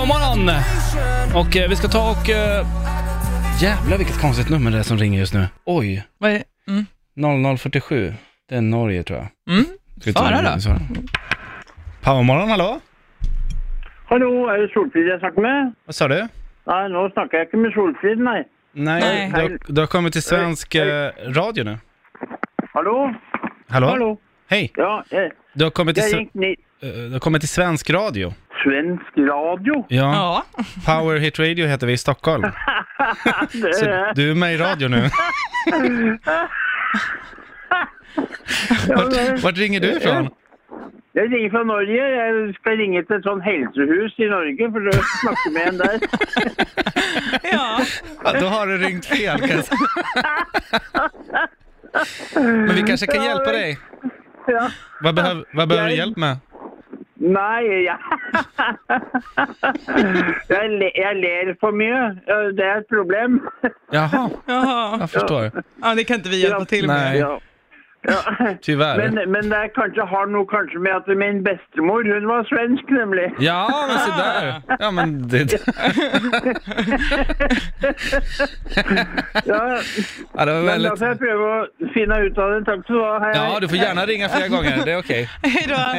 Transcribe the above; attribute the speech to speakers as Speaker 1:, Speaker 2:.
Speaker 1: Powermorgon! Och eh, vi ska ta och... Eh, jävlar vilket konstigt nummer det är som ringer just nu. Oj,
Speaker 2: Vad är... Mm.
Speaker 1: 0047. Det är Norge tror jag.
Speaker 2: Mm.
Speaker 1: Ska vi ta
Speaker 2: Svara
Speaker 1: det?
Speaker 2: då.
Speaker 1: Svara. Powermorgon, hallå?
Speaker 3: Hallo, er det Solfrid jeg snakker med?
Speaker 1: Vad sa du?
Speaker 3: Nei, nå snakker jeg ikke med Solfrid, nei.
Speaker 1: Nej,
Speaker 2: Nej.
Speaker 1: Du, har, du har kommit till svensk eh, radio nu.
Speaker 3: Hallo?
Speaker 1: Hallå?
Speaker 3: Hallo?
Speaker 1: Hej!
Speaker 3: Ja, jeg,
Speaker 1: Du har, kommit till,
Speaker 3: jeg
Speaker 1: sve-
Speaker 3: gikk ned
Speaker 1: eh, du har kommit till svensk radio.
Speaker 3: Svensk radio?
Speaker 1: Ja.
Speaker 2: Ja.
Speaker 1: Power Hit Radio heter vi i Stockholm.
Speaker 3: Det
Speaker 1: Så
Speaker 3: er
Speaker 1: du är med i radio nu. vart, vart ringer du ifrån?
Speaker 3: Jeg ringer fra Norge. Jeg skal ringe til et sånt helsehus i Norge for å snakke med en der.
Speaker 2: ja.
Speaker 1: Ja, då har du ringt fel kan jag säga. Men vi kanske kan hjälpa dig.
Speaker 3: Ja.
Speaker 1: Vad, behöv, vad behöver du hjälp med?
Speaker 3: Nei, jeg jeg, le, jeg ler for mye. Ja, Det er et problem.
Speaker 1: Jaha,
Speaker 2: Jaha.
Speaker 1: jag förstår.
Speaker 2: ja, det kan inte vi hjälpa till med.
Speaker 1: Nej.
Speaker 3: Ja. Ja. Men,
Speaker 1: Tyvärr.
Speaker 3: men det er kanskje, har noe kanskje med at min bestemor hun var svensk, nemlig.
Speaker 1: Ja, men se där. Ja, men det,
Speaker 3: Ja,
Speaker 1: ja, det var
Speaker 3: men da får jeg
Speaker 1: väldigt...
Speaker 3: prøve å finne ut av det. Takk skal du ha. Hei, hei.
Speaker 1: Ja, du får gärna ringa flera gånger. Det är okej.
Speaker 2: Hej då.